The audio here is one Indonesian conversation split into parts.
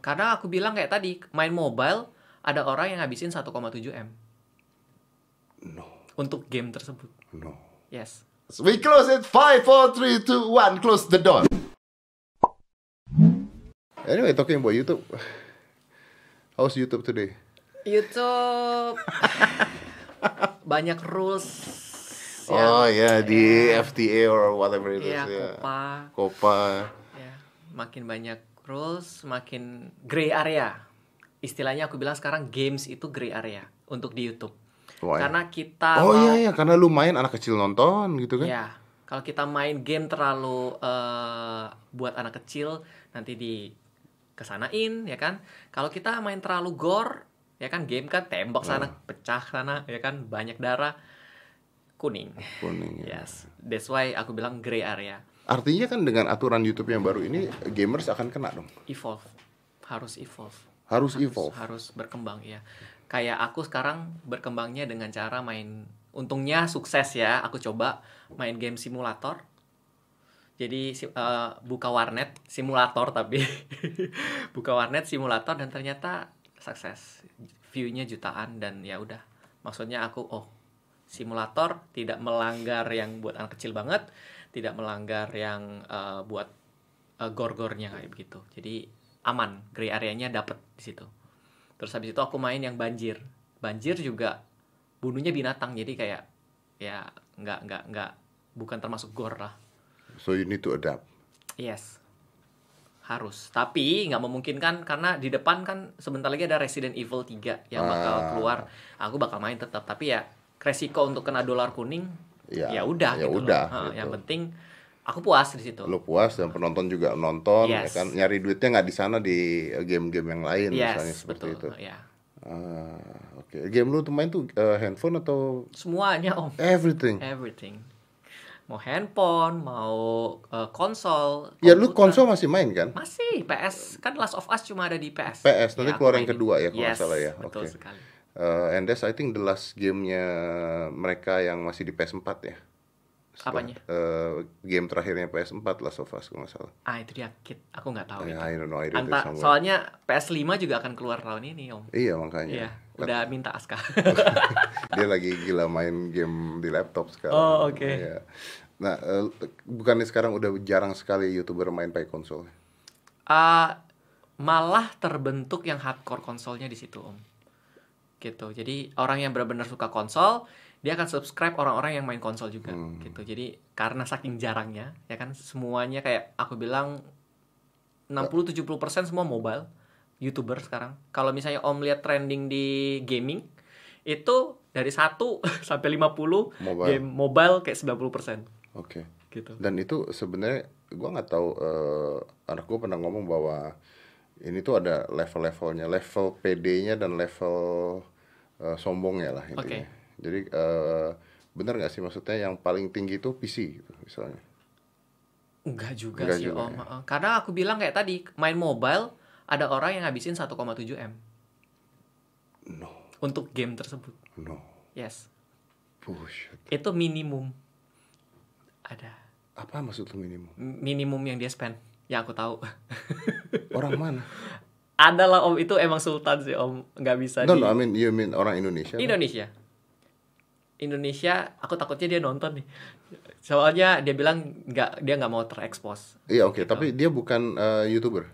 Karena aku bilang kayak tadi, main mobile ada orang yang habisin 1,7 M No, untuk game tersebut. no. Yes. We close it. Five, four, three, two, one. Close the door. Anyway, talking about YouTube. How's YouTube today? YouTube banyak rules. Oh yeah, the FTA or whatever it is. ya, yeah. Kopa. Copa. Ya, makin banyak rules, makin gray area. Istilahnya aku bilang sekarang games itu gray area untuk di YouTube. Why? Karena kita Oh mau- iya iya, karena lu main anak kecil nonton gitu kan? Ya, kalau kita main game terlalu eh, buat anak kecil nanti di kesanain ya kan. Kalau kita main terlalu gore ya kan game kan tembak sana, pecah sana ya kan banyak darah kuning. Kuning. ya. Yes, that's why aku bilang gray area. Artinya kan dengan aturan YouTube yang baru ini gamers akan kena dong. Evolve. Harus evolve. Harus evolve. Harus berkembang ya. Kayak aku sekarang berkembangnya dengan cara main untungnya sukses ya. Aku coba main game simulator. Jadi si- eh, buka warnet simulator tapi buka warnet simulator dan ternyata sukses. View-nya jutaan dan ya udah. Maksudnya aku oh simulator tidak melanggar yang buat anak kecil banget, tidak melanggar yang eh, buat eh, gor-gornya kayak begitu. Jadi aman, gray areanya dapet di situ. Terus habis itu aku main yang banjir. Banjir juga bunuhnya binatang, jadi kayak ya nggak nggak nggak bukan termasuk gor lah. So you need to adapt. Yes. Harus. Tapi nggak memungkinkan karena di depan kan sebentar lagi ada Resident Evil 3 yang bakal Ah. keluar. Aku bakal main tetap, tapi ya resiko untuk kena dolar kuning Ya, ya udah ya gitu loh. udah, Ha, gitu. Yang penting aku puas di situ. Lu puas dan penonton juga nonton ya Yes. kan. Nyari duitnya nggak di sana di eh, game-game yang lain misalnya Yes, seperti betul. itu. Ya. Ah, oke. Game lu tuh main tuh eh, handphone atau Semuanya oh Om. everything? Eh, Everything. Mau handphone, mau eh, konsol. Ya lu komputer. konsol masih main kan? Masih PS kan Last of Us cuma ada di PS. PS, nanti aku keluar yang mainin. kedua ya, kalau nggak Yes, salah ya. Betul Oke. sekali. Eh, and that's I think the last gamenya mereka yang masih di PS4 ya. Apanya? eh, game terakhirnya PS4 Last of Us kalau nggak salah. Ah itu dia kit. Aku nggak tahu Eh, itu. I don't know, I read it Anta, somewhere. soalnya PS5 juga akan keluar tahun ini, Om. Iya makanya. Iya, udah minta aska. Dia lagi gila main game di laptop sekarang. Oh, oke. Iya. Nah, eh, bukannya sekarang udah jarang sekali youtuber main pakai konsol? Ah, malah terbentuk yang hardcore konsolnya di situ, Om. Gitu. Jadi orang yang benar-benar suka konsol, dia akan subscribe orang-orang yang main konsol juga, Hmm. gitu. Jadi karena saking jarangnya, ya kan semuanya kayak aku bilang 60-70% semua mobile youtuber sekarang. Kalau misalnya Om lihat trending di gaming itu dari 1 sampai 50 Mobile. game mobile kayak 90% Oke. gitu. Dan itu sebenarnya gua nggak tahu eh, anak gua pernah ngomong bahwa ini tuh ada level-levelnya, level PD-nya dan level eh, sombongnya lah intinya. Jadi eh, bener nggak sih maksudnya yang paling tinggi itu PC gitu misalnya? Enggak juga Enggak sih juga, Om. ya. Heeh. Karena aku bilang kayak tadi, main mobile ada orang yang ngabisin 1,7 M No, untuk game tersebut. no, Yes. bullshit. Itu minimum. Ada Apa maksud lu minimum? M- minimum yang dia spend yang aku tahu. Orang mana? Adalah Om itu emang sultan sih Om, nggak bisa No, di no, I mean you mean orang Indonesia? kan? Indonesia. Indonesia, aku takutnya dia nonton nih. Soalnya dia bilang nggak dia nggak mau terekspos. Iya oke, tapi dia bukan eh, youtuber,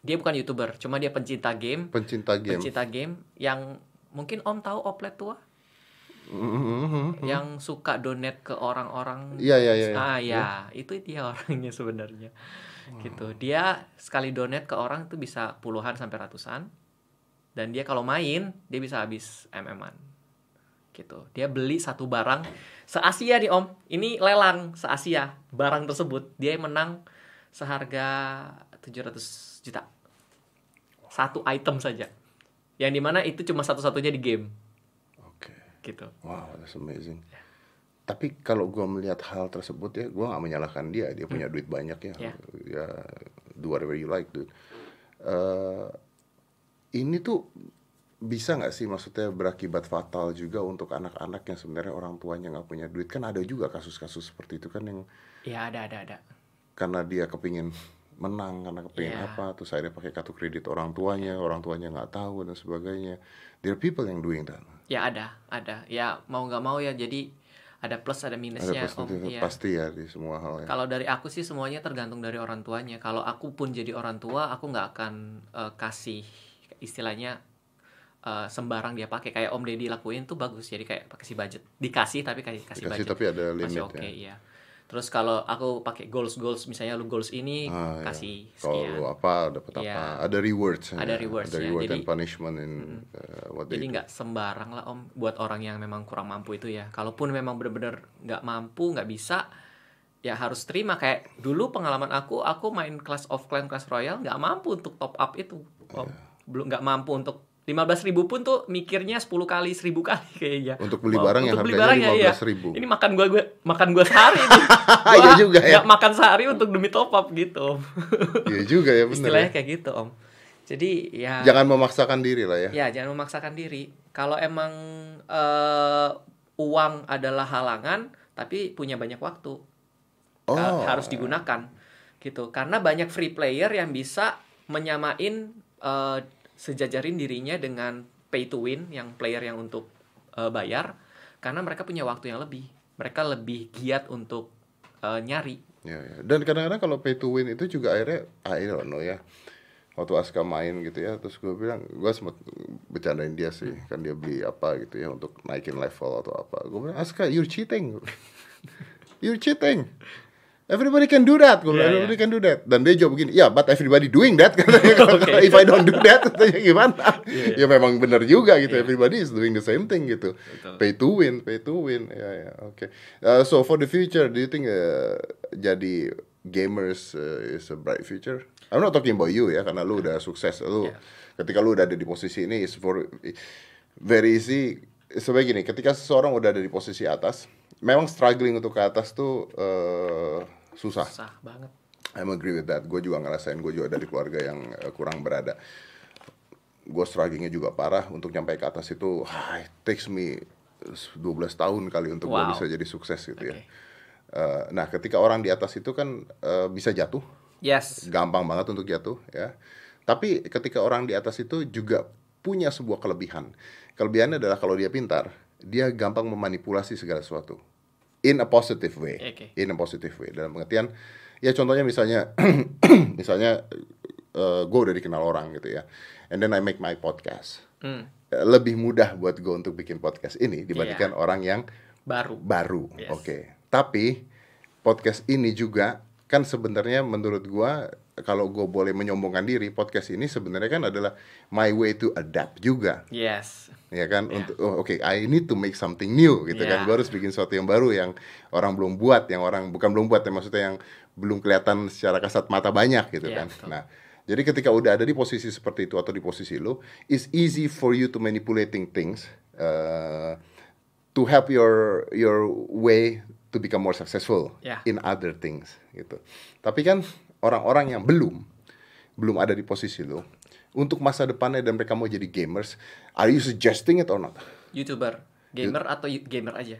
Dia bukan youtuber, cuma dia pencinta game. pencinta game. pencinta game yang mungkin Om tahu Oplet tua Mhm. yang suka donate ke orang-orang. Iya iya iya. Ah ya, itu dia orangnya sebenarnya. Gitu. Dia sekali donate ke orang itu bisa puluhan sampai ratusan. Dan dia kalau main, dia bisa habis MM-an. Gitu. Dia beli satu barang se-Asia nih, Om. Ini lelang se-Asia barang tersebut. Dia menang seharga 700 juta. Satu item saja. Yang dimana itu cuma satu-satunya di game Oke. gitu. Wow, that's amazing. Tapi kalau gua melihat hal tersebut ya, gua nggak menyalahkan dia. Dia punya duit banyak ya. Ya. Ya, do whatever you like, dude. Eh, ini tuh bisa nggak sih maksudnya berakibat fatal juga untuk anak-anak yang sebenarnya orang tuanya nggak punya duit kan ada juga kasus-kasus seperti itu kan yang Ya ada ada ada. karena dia kepingin menang karena kepengen Iya. apa terus akhirnya pakai kartu kredit orang tuanya orang tuanya nggak tahu dan sebagainya there are people yang doing that Ya ada, ada. Ya mau nggak mau ya jadi ada plus ada ada minusnya. pasti, Om. Iya. pasti ya di semua hal ya Kalau dari aku sih semuanya tergantung dari orang tuanya. Kalau aku pun jadi orang tua, aku nggak akan eh, kasih istilahnya eh, sembarang dia pakai kayak Om Deddy lakuin tuh bagus. Jadi kayak kasih budget, dikasih tapi kasih kasih dikasih budget. tapi ada Masih limit ya. oke, iya. Terus kalau aku pakai goals goals misalnya lu goals ini Ah, iya. kasih ya kalau sekian. lu apa dapat Iya. apa ada rewards Ada rewards, ada ya. reward Jadi- and punishment in uh, what they Jadi nggak sembarang lah om buat orang yang memang kurang mampu itu ya. Kalaupun memang bener-bener nggak mampu, nggak bisa, ya harus terima. Kayak dulu pengalaman aku, aku main Clash of Clans, Clash Royale nggak mampu untuk top up itu. Om. Iya. Belum nggak mampu untuk 15.000 pun tuh mikirnya 10 kali, 1000 kali kayaknya. Untuk beli Wah, barang yang untuk beli harganya barang ya, iya. 15.000. Ini makan gua gua makan gua sehari ini. Iya juga ya. Gak makan sehari untuk demi top up gitu. Om. Iya juga ya benar. Istilahnya kayak gitu, Om. Jadi ya Jangan memaksakan diri lah ya. Ya, jangan memaksakan diri. Kalau emang eh, uang adalah halangan, tapi punya banyak waktu Oh. eh, harus digunakan, gitu. Karena banyak free player yang bisa menyamain eh, sejajarin dirinya dengan pay to win yang player yang untuk eh, bayar, karena mereka punya waktu yang lebih. Mereka lebih giat untuk eh, nyari. Ya, ya. Dan kadang-kadang kalau pay to win itu juga akhirnya I don't know ya. Waktu Aska main gitu ya, terus gue bilang, gue sempet bercandain dia sih, kan dia beli apa gitu ya untuk naikin level atau apa. Gue bilang, Aska, you're cheating. you're cheating. Everybody can do that. Gue bilang, Iya, iya. everybody can do that. Dan dia jawab begini, ya, but everybody doing that. Katanya, Oke. if I don't do that, katanya gimana? Iya, Ya memang benar juga gitu, everybody is doing the same thing gitu. Betul. Pay to win, pay to win. Ya ya, oke. Uh, so for the future, do you think uh, jadi gamers uh, is a bright future? I'm not talking about you ya, karena lu udah sukses. Lu Yeah. ketika lu udah ada di posisi ini is for very easy. Sebagai gini, ketika seseorang udah ada di posisi atas, memang struggling untuk ke atas tuh uh, susah. Susah banget. I'm agree with that. Gue juga ngerasain, gue juga dari keluarga yang eh, kurang berada. Gue strugglingnya juga parah untuk nyampe ke atas itu. ah, it takes me 12 tahun kali untuk gue Wow. bisa jadi sukses gitu ya. Oke. Eh, nah, ketika orang di atas itu kan eh, bisa jatuh, Yes. gampang banget untuk jatuh ya. Tapi ketika orang di atas itu juga punya sebuah kelebihan. Kelebihannya adalah kalau dia pintar, dia gampang memanipulasi segala sesuatu. In a positive way. Oke. In a positive way. Dalam pengertian, ya contohnya misalnya, misalnya eh, gue udah dikenal orang gitu ya. And then I make my podcast. Hmm, Eh, Lebih mudah buat gue untuk bikin podcast ini dibandingkan orang yang baru. baru. Yes. Oke. Tapi podcast ini juga kan sebenarnya menurut gua kalau gua boleh menyombongkan diri, podcast ini sebenarnya kan adalah my way to adapt juga, Yes. ya kan? Untuk oh, oke, I need to make something new gitu Yeah. kan. Gua harus bikin sesuatu yang baru yang orang belum buat, yang orang bukan belum buat, ya, maksudnya yang belum kelihatan secara kasat mata banyak gitu Yeah, kan. betul. Nah, jadi ketika udah ada di posisi seperti itu atau di posisi lu, it's easy for you to manipulating things uh, to help your your way to become more successful Yeah. in other things gitu. Tapi kan orang-orang yang belum belum ada di posisi lu untuk masa depannya dan mereka mau jadi gamers, are you suggesting it or not? YouTuber, gamer atau y- gamer aja?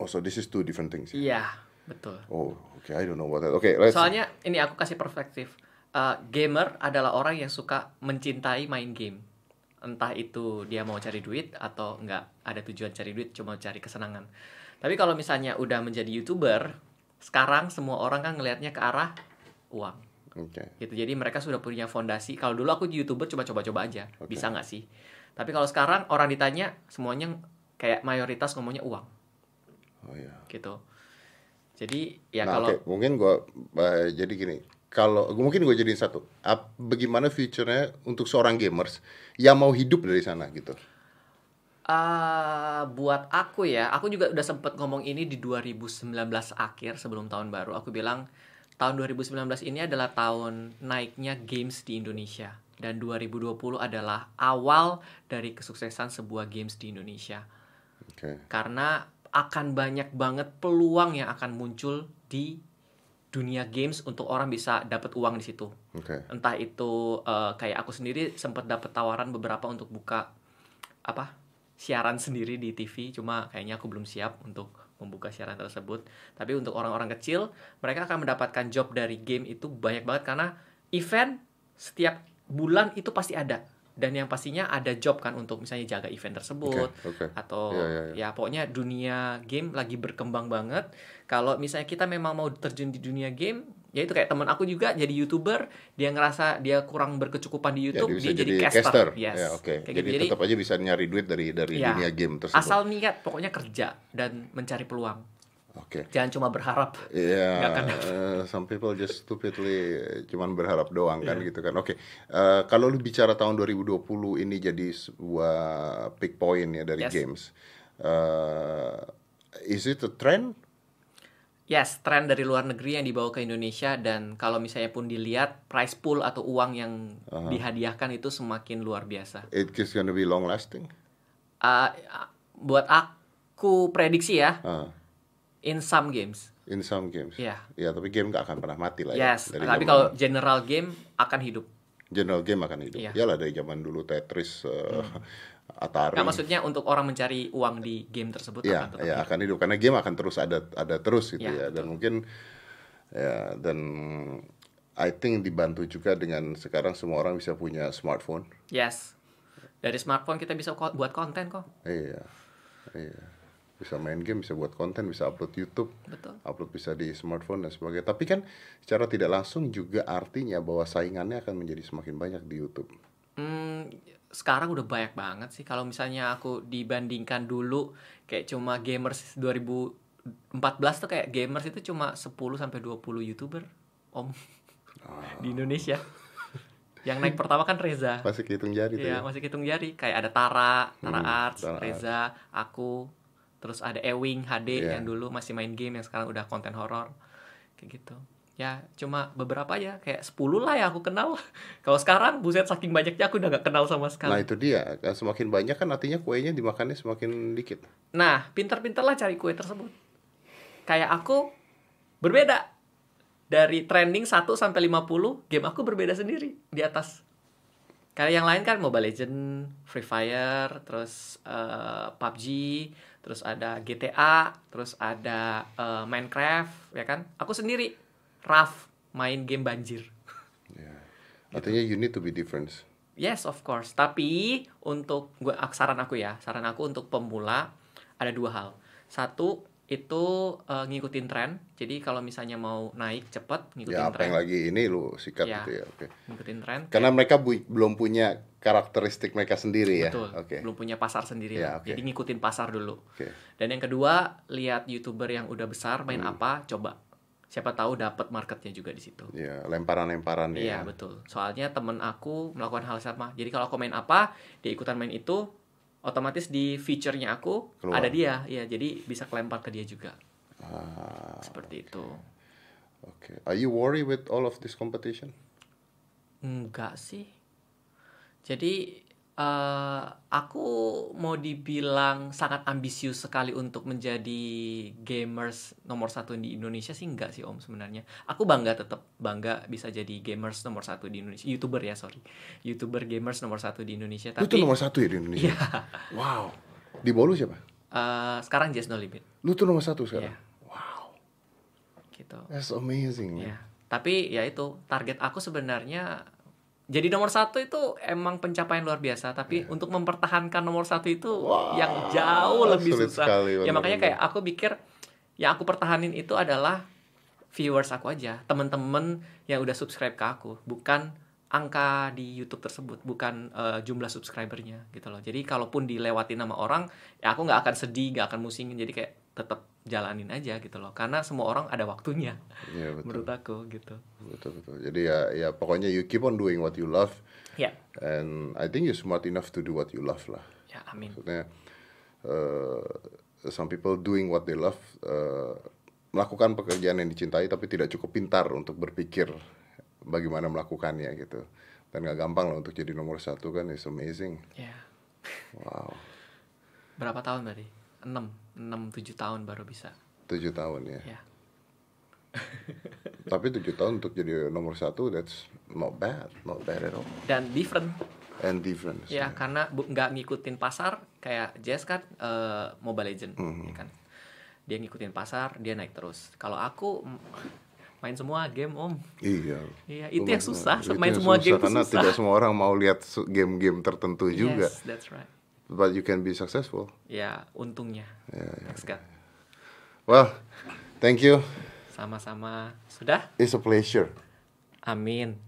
Oh, so this is two different things. Iya, betul. Oh, okay, I don't know what that. Okay, let's Soalnya ini aku kasih perspektif. Eh, gamer adalah orang yang suka mencintai main game. Entah itu dia mau cari duit atau enggak ada tujuan cari duit, cuma cari kesenangan. Tapi kalau misalnya udah menjadi YouTuber, sekarang semua orang kan ngelihatnya ke arah uang. Okay. Gitu. Jadi mereka sudah punya fondasi. Kalau dulu aku YouTuber cuma coba-coba aja, bisa nggak sih? Tapi kalau sekarang orang ditanya semuanya kayak mayoritas ngomongnya uang Oh ya. gitu. Jadi ya nah, kalau oke, mungkin gua eh, jadi gini. Kalau mungkin gue jadiin satu. Ap- bagaimana future-nya untuk seorang gamers yang mau hidup dari sana gitu. Ah, buat aku ya, aku juga udah sempet ngomong ini di 2019 akhir sebelum tahun baru. Aku bilang tahun 2019 ini adalah tahun naiknya games di Indonesia dan 2020 adalah awal dari kesuksesan sebuah games di Indonesia Oke. karena akan banyak banget peluang yang akan muncul di dunia games untuk orang bisa dapat uang di situ Oke. entah itu eh, kayak aku sendiri sempat dapat tawaran beberapa untuk buka apa siaran sendiri di TV cuma kayaknya aku belum siap untuk membuka siaran tersebut. Tapi untuk orang-orang kecil, mereka akan mendapatkan job dari game itu banyak banget karena event setiap bulan itu pasti ada. Dan yang pastinya ada job kan untuk misalnya jaga event tersebut oke. atau Iya, iya, ya pokoknya dunia game lagi berkembang banget. Kalau misalnya kita memang mau terjun di dunia game, ya itu kayak teman aku juga jadi youtuber, dia ngerasa dia kurang berkecukupan di Ya, YouTube, dia bisa dia, jadi caster. Yes. Ya, oke. Kayak Jadi, gitu. Jadi tetap aja bisa nyari duit dari dari Iya. dunia game tersebut. asal niat, pokoknya kerja dan mencari peluang. Oke. Jangan cuma berharap. Iya, Nggak akan eh, some people just stupidly cuman berharap doang Iya. kan gitu kan. Oke, eh, kalau lu bicara tahun 2020 ini jadi sebuah pick point ya dari Yes. games. Eh, is it a trend? Yes, tren dari luar negeri yang dibawa ke Indonesia dan kalau misalnya pun dilihat prize pool atau uang yang dihadiahkan itu semakin luar biasa. It is gonna be long lasting? Ah, ah, buat aku prediksi ya, Ah, in some games. in some games. Iya. Iya, tapi game nggak akan pernah mati lah ya. Yes, Dari tapi zaman- kalau general game akan hidup. general game akan hidup. Iya. Hmm. Iyalah dari zaman dulu Tetris, eh, Atari. Nggak maksudnya untuk orang mencari uang di game tersebut akan ya, tetap ya hidup. akan hidup karena game akan terus ada ada terus gitu Ya, ya, dan mungkin ya dan I think dibantu juga dengan sekarang semua orang bisa punya smartphone. Yes. Dari smartphone kita bisa ko- buat konten kok. Iya. Iya. Bisa main game, bisa buat konten, bisa upload YouTube. Betul. Upload bisa di smartphone dan sebagainya. Tapi kan secara tidak langsung juga artinya bahwa saingannya akan menjadi semakin banyak di YouTube. Hmm, sekarang udah banyak banget sih kalau misalnya aku dibandingkan dulu kayak cuma gamers 2014 tuh kayak gamers itu cuma 10 sampai 20 YouTuber om di Indonesia. Yang naik pertama kan Reza. Masih kehitung jari tuh Iya, ya. masih hitung jari. Kayak ada Tara, Tara Hmm, Arts, Tara Reza, aku, terus ada Ewing HD Iya. yang dulu masih main game yang sekarang udah konten horor. Kayak gitu. Ya, cuma beberapa aja kayak 10 lah yang aku kenal. Kalau sekarang buset saking banyaknya aku udah nggak kenal sama Nah sekali. itu dia, semakin banyak kan artinya kuenya dimakannya semakin dikit. Nah, pinter-pinterlah cari kue tersebut. Kayak aku berbeda. Dari trending 1 sampai 50, game aku berbeda sendiri di atas. Kayak yang lain kan Mobile Legend, Free Fire, terus eh, PUBG, terus ada GTA, terus ada eh, Minecraft, ya kan? Aku sendiri Raf main game banjir. Artinya you need to be different. Yes, of course. Tapi untuk gua ak- saran aku ya, saran aku untuk pemula ada dua hal. Satu itu eh, ngikutin tren. Jadi kalau misalnya mau naik cepat ngikutin Ya apa tren, yang lagi ini lu sikat Ya. gitu ya. Oke. ngikutin tren. Karena mereka bu- belum punya karakteristik mereka sendiri ya. Betul. Oke. Belum punya pasar sendiri. lah. Ya, oke. Jadi ngikutin pasar dulu. Oke. Dan yang kedua, lihat YouTuber yang udah besar main Hmm. apa, coba. Siapa tahu dapat marketnya juga di situ. Ya, lemparan-lemparan Iya ya. betul. Soalnya temen aku melakukan hal sama. Jadi kalau aku main apa, dia ikutan main itu, otomatis di feature-nya aku Keluar. ada dia. Iya, jadi bisa kelempar ke dia juga. Ah, Seperti itu. Oke. Are you worried with all of this competition? Enggak sih. Jadi eh, aku mau dibilang sangat ambisius sekali untuk menjadi gamers nomor satu di Indonesia sih enggak sih Om sebenarnya. Aku bangga tetap bangga bisa jadi gamers nomor satu di Indonesia. Youtuber ya sorry. Youtuber gamers nomor satu di Indonesia. Tapi Lu Iya. tuh nomor satu ya di Indonesia. Wow. Di bawah lu siapa? Eh, sekarang Just No Limit Lu tuh nomor satu sekarang. Iya. Wow. gitu. That's amazing. Ya. man. Tapi ya itu target aku sebenarnya jadi nomor satu itu emang pencapaian luar biasa. Tapi untuk mempertahankan nomor satu itu Iya. Wah, yang jauh lebih sulit susah. sekali, ya makanya benar-benar. kayak aku pikir yang aku pertahanin itu adalah viewers aku aja, temen-temen yang udah subscribe ke aku, bukan angka di YouTube tersebut, bukan eh, jumlah subscribernya gitu loh. Jadi kalaupun dilewatin sama orang, ya aku nggak akan sedih, nggak akan musingin. Jadi kayak tetap jalanin aja gitu loh, karena semua orang ada waktunya Iya, betul. menurut aku gitu. Betul, betul. Jadi ya ya pokoknya you keep on doing what you love Ya, and I think you smart enough to do what you love lah. ya amin. maksudnya eh, some people doing what they love eh, melakukan pekerjaan yang dicintai tapi tidak cukup pintar untuk berpikir bagaimana melakukannya gitu dan gak gampang lah untuk jadi nomor satu kan is amazing Ya. wow Berapa tahun tadi? 6, 6 7 tahun baru bisa. tujuh tahun ya Ya. tapi tujuh tahun untuk jadi nomor satu that's not bad not bad at all Dan different and different ya Hmm. karena bu- nggak ngikutin pasar kayak Jazz kan eh, Mobile Legend ya kan. dia ngikutin pasar dia naik terus kalau aku mm, main semua game om Iya. iya itu yang Lumayan- susah itu main yang semua susah, game itu karena susah tidak semua orang mau lihat su- game-game tertentu juga. yes that's right But you can be successful. ya untungnya ya, thanks God Well, thank you. sama-sama sudah It's a pleasure. amin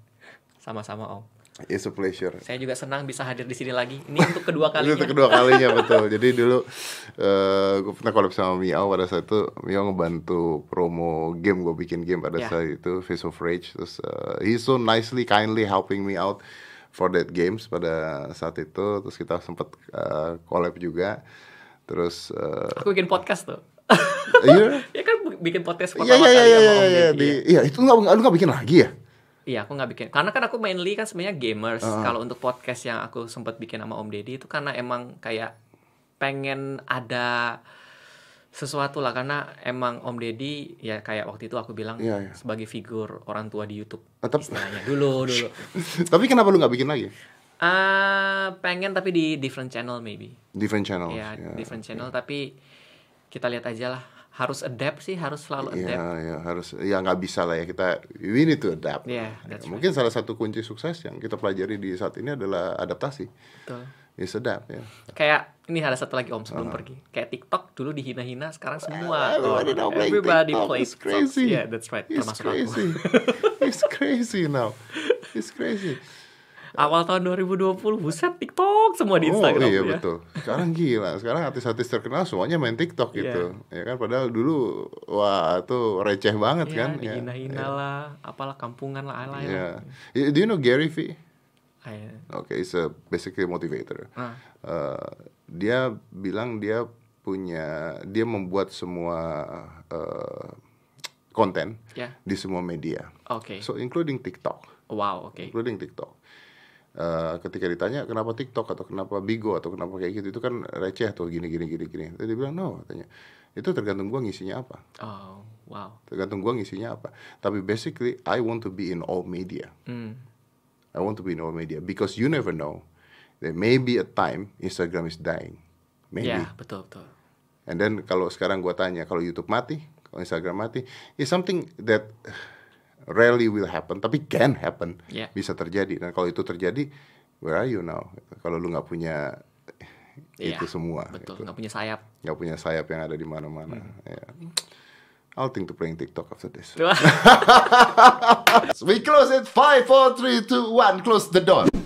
sama-sama om It's a pleasure. saya juga senang bisa hadir di sini lagi ini untuk kedua Itu kalinya kedua kalinya betul. Jadi dulu eh gue pernah collab sama Miao pada saat itu Miao ngebantu promo game gue bikin game pada Ya. saat itu Face of Rage. Terus eh, he so nicely kindly helping me out for that games pada saat itu. Terus kita sempet eh, collab juga. Terus eh, aku bikin podcast tuh iya ya kan bu- bikin podcast iya pertama iya kali iya sama iya om iya Deddy, di iya. iya itu nggak nggak- lu nggak bikin lagi ya? Iya, aku nggak bikin. Karena kan aku mainly kan sebenarnya gamers. Ah. Kalau untuk podcast yang aku sempat bikin sama Om Deddy itu karena emang kayak pengen ada sesuatu lah karena emang Om Deddy ya kayak waktu itu aku bilang Iya, iya. sebagai figur orang tua di YouTube Ah, tapi- istilahnya dulu dulu. Tapi kenapa lu nggak bikin lagi? Ah, pengen tapi di different channel maybe. Different channels. Ya, ya. different channel tapi kita lihat aja lah. Harus adapt sih, harus selalu Iya, adapt. ya harus ya nggak bisa lah ya kita we need to adapt. Yeah, Ya, that's Mungkin salah satu kunci sukses yang kita pelajari di saat ini adalah adaptasi. Betul. Is adapt ya. kayak ini ada satu lagi om sebelum pergi kayak TikTok dulu dihina-hina Eh, sekarang semua Everybody now playing everybody TikTok, plays it's crazy. yeah that's right It's termasuk aku crazy. It's crazy now. It's crazy. awal tahun 2020 buset TikTok semua di Instagram oh iya ya betul. Sekarang gila. Sekarang artis-artis terkenal semuanya main TikTok gitu. Ya kan padahal dulu wah itu receh banget Iya, kan. Ya. dihina-hina lah apalah kampungan lah alay lah Ya. Ya, Do you know Gary Vee? Ay, Oke, is a basically motivator. Ah. Eh, dia bilang dia punya dia membuat semua eh, konten ya di semua media. oke So including TikTok, wow oke including TikTok. Eh, ketika ditanya kenapa TikTok atau kenapa Bigo atau kenapa kayak gitu itu kan receh tuh gini gini gini gini. Terus dia bilang no, katanya. Itu tergantung gua ngisinya apa. oh wow Tergantung gua ngisinya apa. Tapi basically I want to be in all media. hmm I want to be in all media because you never know. There may be a time Instagram is dying, maybe. ya betul betul And then kalau sekarang gua tanya kalau YouTube mati, kalau Instagram mati, is something that rarely will happen, tapi can happen, Yeah. bisa terjadi. Dan kalau itu terjadi, where are you now? Kalau lu nggak punya Iya, itu semua, betul gitu. nggak punya sayap nggak punya sayap yang ada di mana-mana. ya. I'll think to playing TikTok after this. Wah. We close it. Five, four, three, two, one. Close the door.